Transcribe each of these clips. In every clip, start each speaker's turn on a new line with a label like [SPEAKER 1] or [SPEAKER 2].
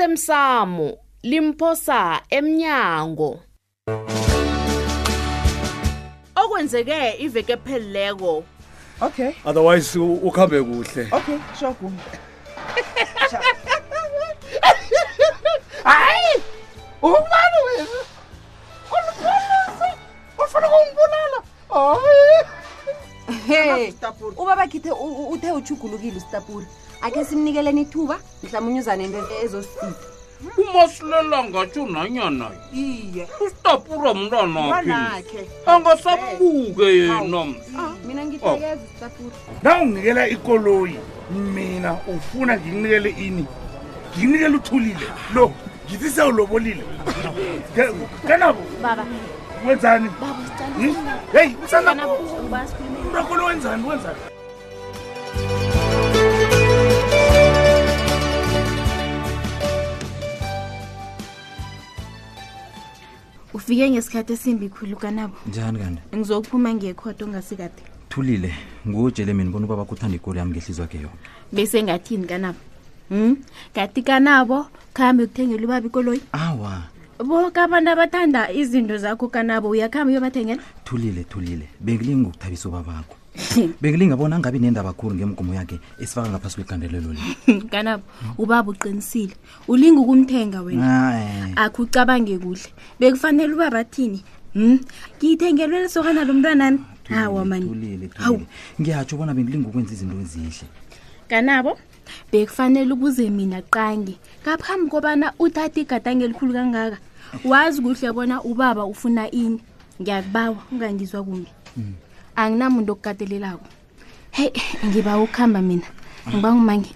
[SPEAKER 1] osemsamo limphosa emnyango okwenzeke iveke pheleleko
[SPEAKER 2] okay
[SPEAKER 3] otherwise u- ukhambe kuhle
[SPEAKER 2] okay sure guma
[SPEAKER 4] hayi umani wena ulipolisi ufuna kungibulala hayi
[SPEAKER 5] he
[SPEAKER 2] Stapuri.
[SPEAKER 5] ubaba khithe u- u- uthe uchugulukile usitapuri akhe simnikeleni ithuba mhlawumbe uza nento ezosisiza
[SPEAKER 6] umasilela ngatsho nanyana
[SPEAKER 2] iye
[SPEAKER 6] usitapura mntanakhe
[SPEAKER 2] mwanakhe
[SPEAKER 6] angasabuke yena
[SPEAKER 5] Ah, mina ngithekeza isitapuri
[SPEAKER 4] nawunginikela ikoloyi mina ufuna ngikunikele ini ngikunikele uthulile lo ngithi sewulobolile Ke- kanabo
[SPEAKER 1] baba
[SPEAKER 4] wenzani
[SPEAKER 1] baba
[SPEAKER 4] Hmm?
[SPEAKER 1] sicala
[SPEAKER 4] heyi usanabo
[SPEAKER 1] ukuba sikhulume
[SPEAKER 4] umrakolo wenzani wenzani
[SPEAKER 7] ufike ngesikhathi esimbi khulu kanabo
[SPEAKER 8] njani kanti
[SPEAKER 7] ngizokuphuma ngiyekhoda ongasikade
[SPEAKER 8] thulile nguwutshele mina bona ubaba kuthanda ikoli yami ngehlizwa ke yona
[SPEAKER 7] bese ngathini kanabo um kati kanabo khambe ukuthengela ubaba ikoloyi
[SPEAKER 8] awa
[SPEAKER 7] boke abantu abathanda izinto zakho kanabo uyakhamba uyobathengela
[SPEAKER 8] thulile thulile bengilinga ukuthabisa ubabakho bengilinga bona angabi nendaba khulu ngemgumo yakhe esifaka ngaphasi kwegandelelo le
[SPEAKER 7] kanabo ubaba uqinisile ulinga ukumthenga wena
[SPEAKER 8] Ah, eh.
[SPEAKER 7] akho ucabange kuhle bekufanele uba bathini um ngiyithengelwe lesokana lo mntwanami
[SPEAKER 8] Thulile,
[SPEAKER 7] hawa mani
[SPEAKER 8] thulile,
[SPEAKER 7] hawu
[SPEAKER 8] thulile ngiyatsho bona bengilinga ukwenza izinto ezihle
[SPEAKER 7] kanabo bekufanele ubuze mina qange ngaphambi kobana uthathe igadange elikhulu kangaka wazi kuhle bona ubaba ufuna ini ngiyakubawa ungangizwa kumbi anginamuntu okukatelelako heyi ngiba ukuhamba mina ngiba ngumange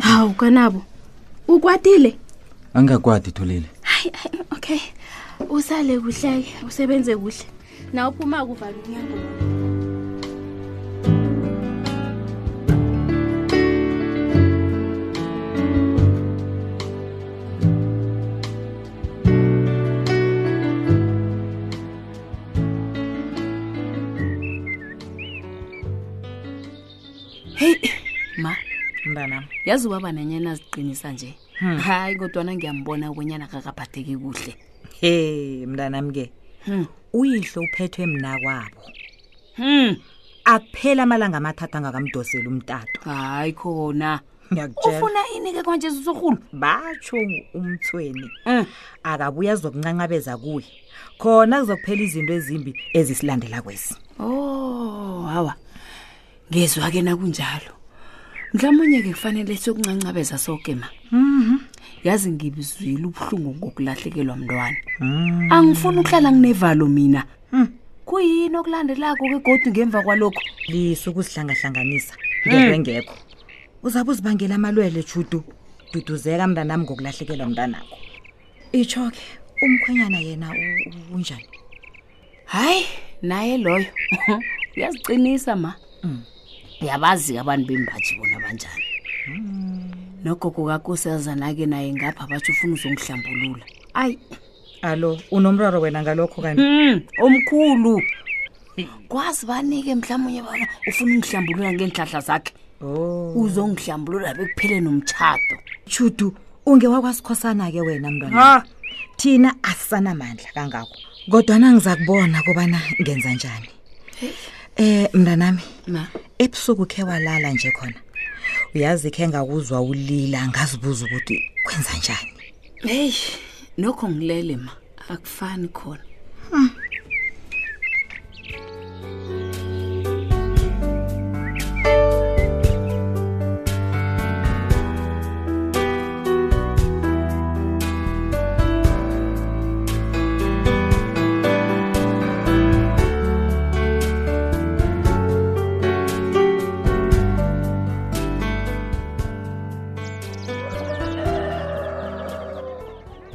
[SPEAKER 7] hawu kanabo ukwatile
[SPEAKER 8] angingakwadi thulile
[SPEAKER 7] hayi hayi, okay usale kuhle-ke usebenze kuhle na uphuma kuvala unyango
[SPEAKER 9] heyi ma
[SPEAKER 2] mntanam
[SPEAKER 9] yazi ubaba nanyana aziqinisa nje hayi kodwana ngiyambona kwenyana kakaphatheki kuhle
[SPEAKER 2] he mntanam ke
[SPEAKER 9] Hmm.
[SPEAKER 2] uyihlo uphethwe mna kwabo
[SPEAKER 9] Hmm,
[SPEAKER 2] akuphela amalanga amathathu angakamdoseli umtato
[SPEAKER 9] hayi khona
[SPEAKER 2] ngiyakutshela
[SPEAKER 9] ufuna ini-ke kwanje susorhulu
[SPEAKER 2] batsho umthweni
[SPEAKER 9] um
[SPEAKER 2] akabuye azokuncancabeza kuye khona kuzokuphela izinto ezimbi ezisilandela kwezi
[SPEAKER 9] o Oh, hawa ngezwa-ke nakunjalo mhlawumunye-ke kufanele siyokuncancabeza soke ma yazi ngibizwile ubuhlungu ngokulahlekelwa mntwana angifuni ukuhlala nginevalo mina kuyini okulandelako-ke godi ngemva kwalokho
[SPEAKER 2] liso ukuzihlangahlanganisa ngerengekho uzabe uzibangela amalwele judu duduzeka mntanami ngokulahlekelwa mntanakho itsho ke umkhwenyana yena u- u- unjani
[SPEAKER 9] hayi naye loyo uyaziqinisa ma uyabazi-ke abantu bembaji bona banjani Mm. nogogo kakosazana-ke naye ngapha batsho ufuna uzongihlambulula ayi
[SPEAKER 2] alo unomraro wena ngalokho kanti
[SPEAKER 9] Mm, omkhulu kwazi banike mhlawumunye bana ufuna ungihlambulula ngeenhlahla zakhe Oh.
[SPEAKER 2] o
[SPEAKER 9] uzongihlambulula bekuphele nomtshato
[SPEAKER 2] judu ungewakwasikhosana ke wena mntwana thina asisanamandla kangako kodwana ngiza kubona kobana ngenza njani um mntanami
[SPEAKER 9] ma
[SPEAKER 2] ebusuku khe walala nje khona uyazi khe ngakuzwa ulila ngazibuza ukuthi kwenza njani
[SPEAKER 9] heyi nokho ngilele ma akufani khona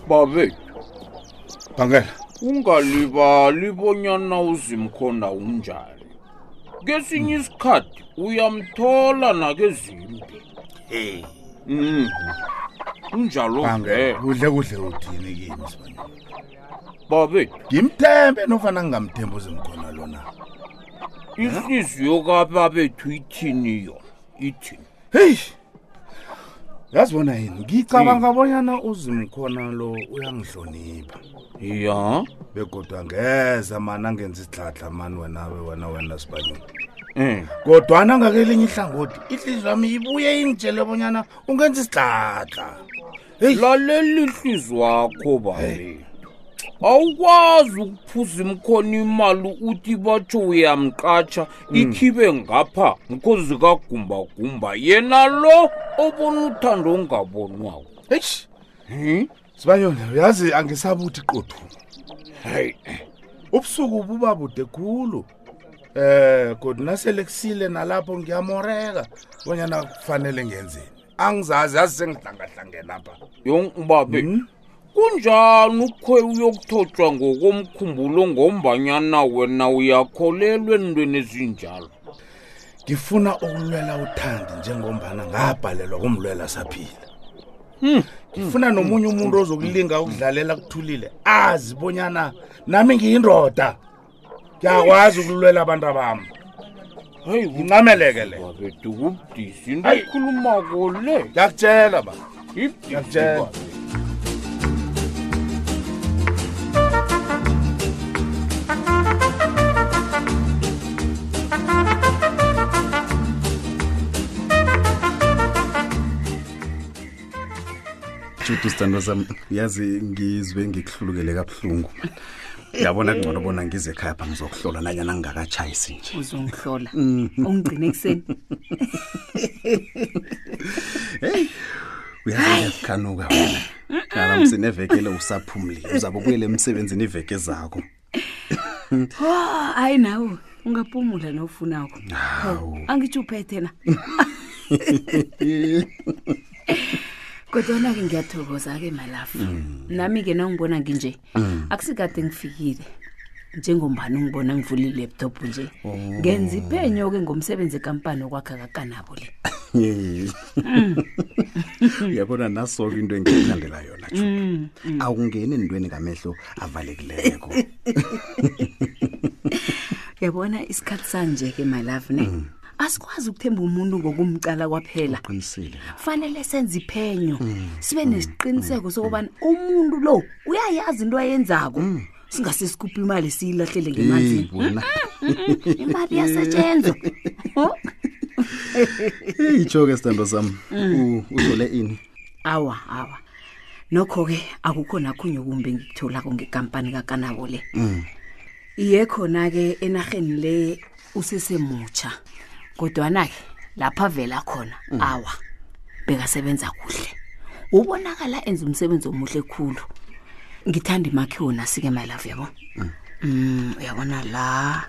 [SPEAKER 6] babe
[SPEAKER 4] bhangela
[SPEAKER 6] ungalibali bonyana uzimkhonda unjani kesinye isikhathi uyamthola nakezimbi
[SPEAKER 4] hey
[SPEAKER 6] Mm. unjalo
[SPEAKER 4] bhangela
[SPEAKER 6] ngeke
[SPEAKER 4] udle kudle udini kimi sibanye
[SPEAKER 6] babe
[SPEAKER 4] ngimthembe nofana ngingamthembi uzimkhona lona
[SPEAKER 6] ihliziyo kababethu ithini yona ithini
[SPEAKER 4] heyi yazi bona yini ngicabanga bonyana uzimkhona lo uyangihlonipha
[SPEAKER 6] ya
[SPEAKER 4] begodwa angeze mani angenza isidladla mani wenawe wena wena sibanyeni
[SPEAKER 6] um
[SPEAKER 4] kodwana ngakelinye ihlangothi ihliziyo yami ibuye ingitshele bonyana ungenza isidladla
[SPEAKER 6] lalela ihlizi wakho babe awukwazi ukuphuza imkhona imali uthi batsho uyamqatsha ikhibe ngapha mkhozi kagumbagumba yena lo obona uthando ongabonwako
[SPEAKER 4] eish
[SPEAKER 6] Hmm?
[SPEAKER 4] sibanyoni uyazi angisabuthi qothu
[SPEAKER 6] hayi
[SPEAKER 4] ubusuku buba bude khulu eh kodwa nasele kusile nalapho ngiyamoreka bonyana kufanele ngenzeni angizazi yazi sengihlangahlangene apha
[SPEAKER 6] yongibabe
[SPEAKER 4] Hmm?
[SPEAKER 6] kunjani ukhe uyokuthotshwa ngokomkhumbulo ngombanyana wena uyakholelwa entweni ezinjalo
[SPEAKER 4] ngifuna ukulwela uthandi njengombana ngabhalelwa kumlwela saphila ngifuna nomunye umuntu ozokulinga ukudlalela kuthulile azi bonyana nami ngiyindoda ngiyakwazi ukulwela abantu abami
[SPEAKER 6] heyi
[SPEAKER 4] ngincameleke le
[SPEAKER 6] babedu kubudisi into
[SPEAKER 4] Hayi.
[SPEAKER 6] ekhulumako le
[SPEAKER 4] ngiyakutshela ba
[SPEAKER 6] ibudisi
[SPEAKER 4] ngiyakutshela
[SPEAKER 6] babe.
[SPEAKER 10] judu sithandwa sami yazi ngizwe ngikuhlulukele kabuhlungu yabona kungcono bona ngize ekhaya pha ngizokuhlolwa nanyana ngingakatshayisi nje
[SPEAKER 9] uzongihlola ungigcine ekuseni
[SPEAKER 10] uyaziyakukhanuka wena alamsinevekele usaphumli uzabe ubuyele emsebenzini iveke zakho
[SPEAKER 9] Oh, hayi nawe ungapumula nofunako
[SPEAKER 10] hawu
[SPEAKER 9] angitsho uphethe na kodwana-ke ngiyathokoza-ke malafu nami-ke nangibona nginje akusikade ngifikile njengombani ungibona ngivula i-laptop nje ngenza iphenyo-ke ngomsebenzi ekampani okwakha kakanabo le
[SPEAKER 10] uyabona naso-ke into engikulandela yona judu awungeni entweni ngamehlo avalekileko
[SPEAKER 9] uyabona isikhathi sanje-ke malafu ne asikwazi ukuthemba umuntu ngokumcala kwaphela
[SPEAKER 10] qinisile
[SPEAKER 9] fanele senze iphenyo sibe nesiqiniseko sokubana umuntu lo uyayazi into ayenzako singase sikhuphe imali siyilahlele
[SPEAKER 10] eyi
[SPEAKER 9] ngemanzini
[SPEAKER 10] wena
[SPEAKER 9] imali iyasetshenzwa Ho?
[SPEAKER 10] itsho-ke sithandwa sami U- uthole ini
[SPEAKER 9] awa awa nokho-ke akukho nakhunye kumbi ngikutholako ngekampani kakanabo le iye khona-ke enarheni le usesemutsha kodwana-ke lapha vela khona awa bekasebenza kuhle ubonakala enza umsebenzi omuhle khulu ngithanda imakhiwo nasi-ke mylove yabo um uyabona la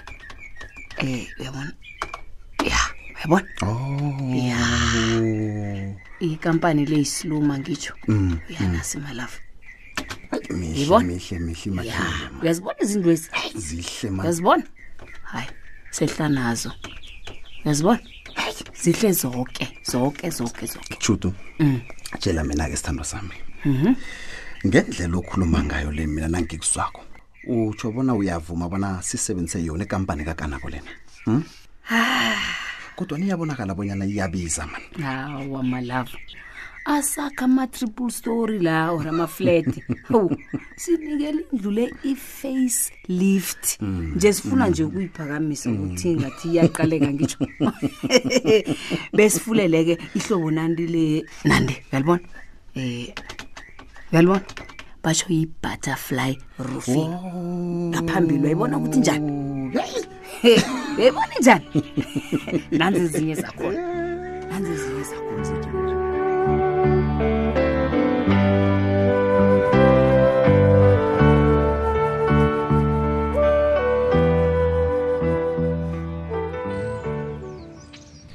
[SPEAKER 9] um uyabona ya uyabona ya ikampani le isiluma ngitsho uyanasi malava
[SPEAKER 10] mihle
[SPEAKER 9] Yibona?
[SPEAKER 10] mihle mihle
[SPEAKER 9] ya
[SPEAKER 10] imakhiwo
[SPEAKER 9] uyazibona izindlu ezi
[SPEAKER 10] zihle ma
[SPEAKER 9] uyazibona hayi sehla nazo uyazibona Hayi, zihle zonke zonke zonke zonke
[SPEAKER 10] Chutu. Tshela mina ke sithando sami. Ngendlela okhuluma ngayo le mina nangikuzwako. Utsho bona uyavuma bona sisebenzise yona ikampani kakanabo lena. Mhm. Kodwa niyabonakala bonyana iyabiza man.
[SPEAKER 9] hawa malava asakha ama-triple story la or amafleti hawu sinikela indlu le i-face lift nje sifuna nje ukuyiphakamisa ukuthi ingathi iyaqaleka ngitsho besifuleleke ihlobo nandi le nande uyalibona um uyalibona batsho yi-butterfly roofing ngaphambili wayibona ukuthi njani Hey, yayibona njani nanzi ezinye zakhona nanzi ezinye zakhona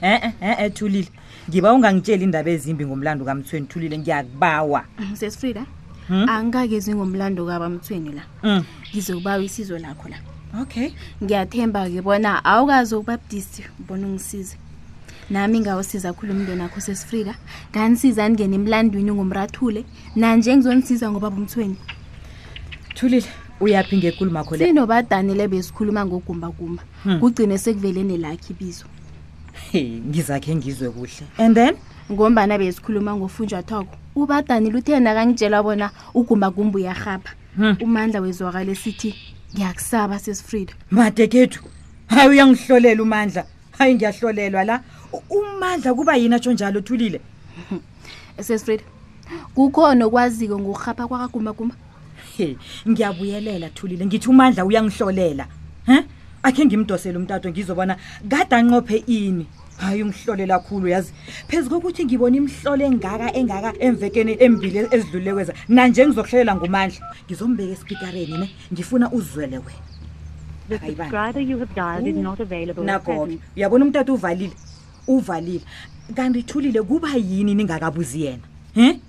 [SPEAKER 2] e-e e-e eh, thulile ngiba ungangitsheli indaba ezimbi ngomlando kamthweni thulile ngiyakubawa
[SPEAKER 7] sesifrida angingakezwi ngomlando kabamthweni la
[SPEAKER 2] Mm.
[SPEAKER 7] ngizokubawa isizo lakho la
[SPEAKER 2] okay
[SPEAKER 7] ngiyathemba-ke bona awukazi ukubabudisi bona ungisize nami ngawusiza khulu umndeni akho sesifrida nganisiza ningena emlandwini ngomrathule nanje ngizonisiza ngobaba umthweni
[SPEAKER 2] thulile uyaphi ngekulumakho le
[SPEAKER 7] sinobadanile besikhuluma ngogumbagumba kugcine sekuvele nelakhi ibizo
[SPEAKER 2] Hey, ngizakhe ngizwe kuhle and then
[SPEAKER 7] ngombana besikhuluma ngofunjathwako ubadanile uthe nakangitshela bona ugumbagumba uyarhapha umandla wezwakale sithi ngiyakusaba sesifrida
[SPEAKER 2] madekethu hayi uyangihlolela umandla hayi ngiyahlolelwa la U- umandla kuba yini atsho njalo thulile
[SPEAKER 7] sesifrida Eh, kukhona okwaziko ngokurhapha kwakagumbagumba
[SPEAKER 2] he ngiyabuyelela thulile ngithi umandla uyangihlolela he akhe ngimdosele umtato ngizobona kade anqophe ini hayi ungihlolela khulu yazi phezu kokuthi ngibona imhlolo engaka engaka emvekeni embili ezidlulekweza nanje ngizokuhlelela ngumandla ngizombeka esipikareni ne ngifuna uzwele wena
[SPEAKER 11] The
[SPEAKER 2] Hi, Ivan.
[SPEAKER 11] subscriber you have dialed is not available at
[SPEAKER 2] nako-ke
[SPEAKER 11] present.
[SPEAKER 2] uyabona umtata uvalile uvalile kanti ithulile kuba yini ningakabuzi yena um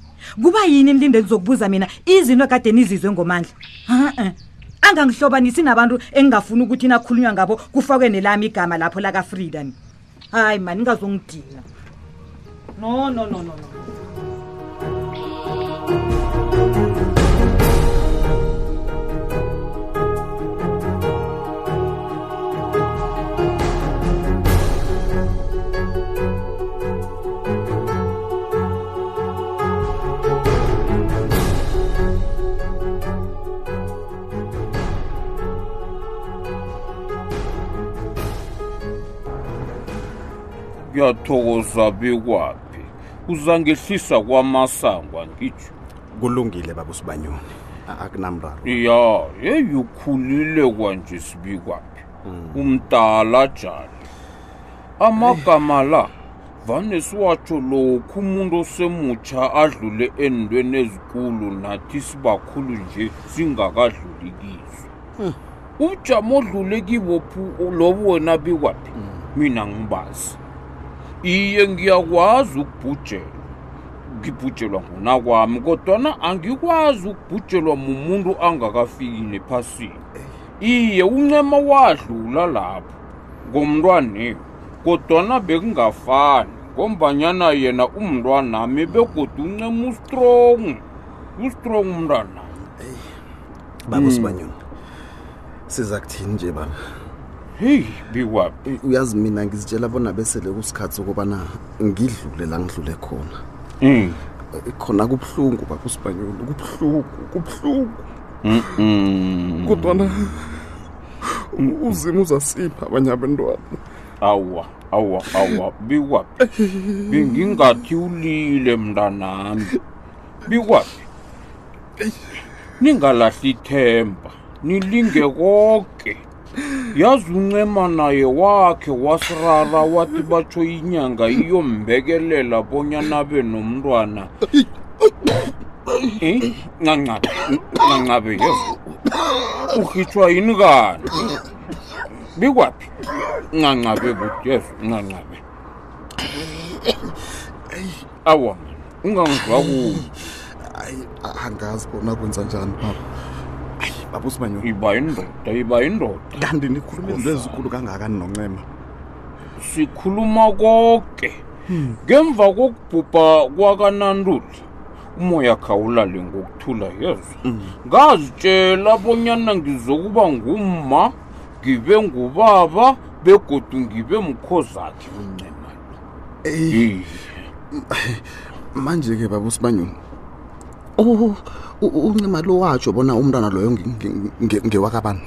[SPEAKER 2] kuba yini nilinde nizokubuza mina izinto ekade nizizwe ngomandla a-e angangihlobanisi nabantu engingafuni ukuthi nakhulunywa ngabo kufakwe nelami igama lapho lakafreedom hayi mani ngingazongidina no no no no no.
[SPEAKER 6] ngiyathokoza bekwaphi uzangehlisa kwamasangwa ngitsho
[SPEAKER 10] kulungile baba usibanyoni A- akunamraro
[SPEAKER 6] ya yeyi ukhulile kwanje sibikwaphi umdala njani amagama la vane siwatsho lokhu umuntu osemutsha adlule endweni ezikulu nathi sibakhulu nje singakadluli kizo ujamo odlule kibophi lobu wena bikwaphi mina ngibazi iye ngiyakwazi ukubhujelwa ngibhujelwa ngona kwami kodwana angikwazi ukubhujelwa mumuntu angakafikile ephasini iye uncema wadlula lapho ngomntwane kodwana bekungafani ngombanyana yena umntwanami begodwa uncema ustrong ustrong umntwana
[SPEAKER 10] baba usibanyoni siza kuthini nje baba
[SPEAKER 6] heyi bikwaphi
[SPEAKER 10] U- uyazi mina ngizitshela bona besele kusikhathi sokubana ngidlule la ngidlule khona E,
[SPEAKER 6] Mm.
[SPEAKER 10] khona kubuhlungu baba usibanyoni kubuhlungu kubuhlungu kodwana uzima uzasipha abanye abantwana
[SPEAKER 6] awa awa awa bikwaphi bengingathi ulile mntanami bikwaphi ningalahli ithemba nilinge konke yazi uncema naye wakhe wasirara wathi batsho inyanga iyombekelela bonyana be nomntwana Eh, ncancabe ncancabe yezo uhitshwa yini kani bikwaphi ncancabe kuthi yezo ncancabe awa ungangizwa kubi
[SPEAKER 10] angazi bona kwenza njani baba Ayi, baba usibanyoni
[SPEAKER 6] iba indoda iba indoda
[SPEAKER 10] kanti nikhuluma izinto ezikulu kangakani noncema
[SPEAKER 6] sikhuluma konke ngemva kokubhubha kwakanantuli umoya khawulale ngokuthula yezo ngazitshela bonyana ngizokuba ngumma ngibe ngubaba begodu ngibe mkhozakhe uncema Eyi.
[SPEAKER 10] manje ke baba usibanyoni oh u- u- uncema lo watsho bona umntwana loyo nge- nge- nge- ngewakabani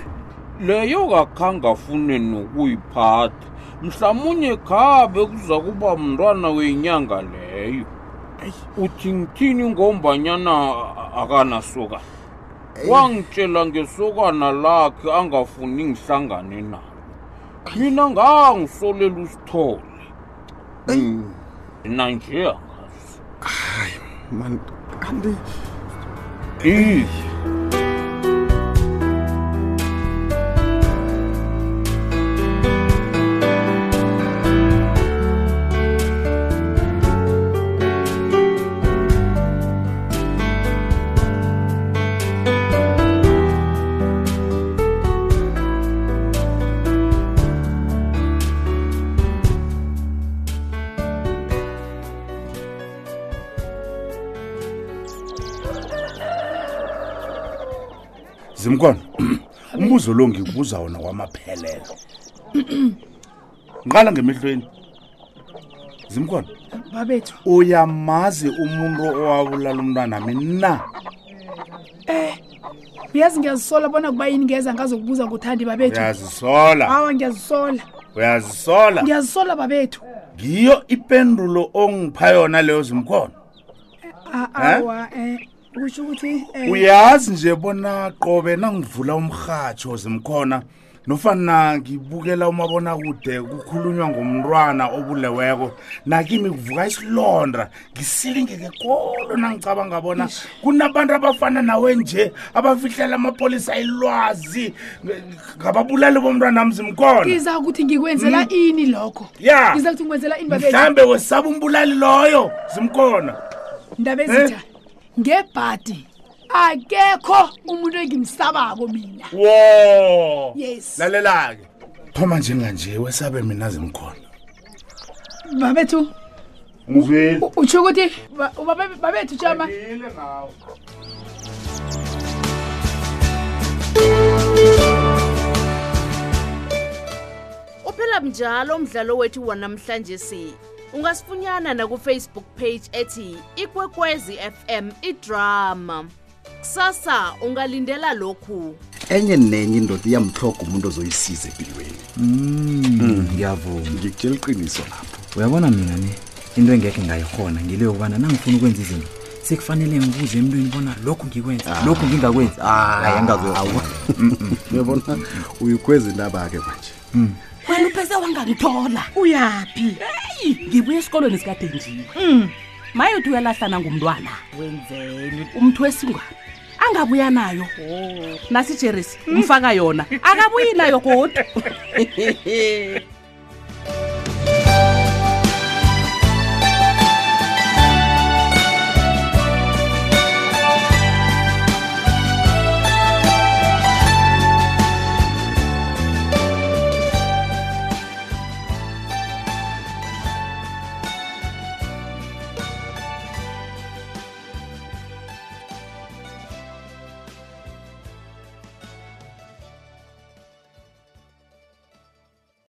[SPEAKER 6] leyo kakhange afune nokuyiphatha mhlamunye khabe kuza kuba mntwana wenyanga leyo uthi ngithini ngombanyana a- akanasoka wangitshela ngesokana lakhe angafuni ngihlangane nalo mina ngangisolela usithole Mm. nanje angazi
[SPEAKER 10] man kanti
[SPEAKER 6] Iye.
[SPEAKER 4] zimkhono umbuzo lo ngikubuza wona wamaphelelo nqala ngemihlweni zimkhono
[SPEAKER 12] babethu
[SPEAKER 4] uyamazi umuntu owabulala umntwanami na
[SPEAKER 12] eh uyazi ngiyazisola bona kuba yini ngeza ngazokubuza nguthandi babethu
[SPEAKER 4] Uyazisola.
[SPEAKER 12] awa ngiyazisola
[SPEAKER 4] uyazisola
[SPEAKER 12] ngiyazisola babethu
[SPEAKER 4] ngiyo ipendulo ongipha yona leyo zimkhono
[SPEAKER 12] A-
[SPEAKER 10] Eh?
[SPEAKER 12] awa um kusho ukuthi eh,
[SPEAKER 4] Mm. uyazi nje bona qobe nangivula umrhatsho zimkhona nofana ngibukela umabonakude kukhulunywa ngomntwana obuleweko nakimi kuvuka isilondra ngisilingeke kolo nangicabanga bona kunabantu abafana nawe nje abafihlela amapolisa ilwazi ng- ngababulali bomntwana mzimkhona
[SPEAKER 12] ngiza ukuthi ngikwenzela
[SPEAKER 4] Mm.
[SPEAKER 12] ini lokho
[SPEAKER 4] Ya.
[SPEAKER 12] ngiza kuthi ngikwenzela ini
[SPEAKER 4] mhlambe wesaba umbulali loyo zimkhona
[SPEAKER 12] ndaba ezitha ngebhadi akekho umuntu engimsabako mina
[SPEAKER 4] wo
[SPEAKER 12] Yes.
[SPEAKER 4] lalela-ke thoma njenganje wesabe mina zimkhona
[SPEAKER 12] babethu
[SPEAKER 4] ngizwile
[SPEAKER 12] utsho ukuthi ba- ubabe- babethu tshama
[SPEAKER 1] uphela njalo umdlalo wethu wanamhlanje si ungasifunyana nakufacebook page ethi ikwekwezi fm idrama kusasa ungalindela lokhu
[SPEAKER 10] enye nenye indoda iyamhloga umuntu ozoyisiza empilweni
[SPEAKER 8] Mm, ngiyavuma
[SPEAKER 10] ngikutshela iqiniso lapho
[SPEAKER 8] uyabona mina ne into engekhe ngayihona ngile yokubana nangifuna ukwenza izinto sekufanele ngibuze emntwini bona lokhu ngikwenza lokhu ngingakwenzi hayi angazoyawa
[SPEAKER 10] uyabona uyikhwezi ndaba-ke manje
[SPEAKER 9] wena uphese wangangithola
[SPEAKER 2] uyaphi
[SPEAKER 9] ngibuye esikolweni sikadenjiwe
[SPEAKER 12] Mm.
[SPEAKER 9] maye uthi uyalahlana ngumntwana wenzeni umntu wesingwane angabuya nayo nasijeresi umfaka yona akabuyi nayo kodwa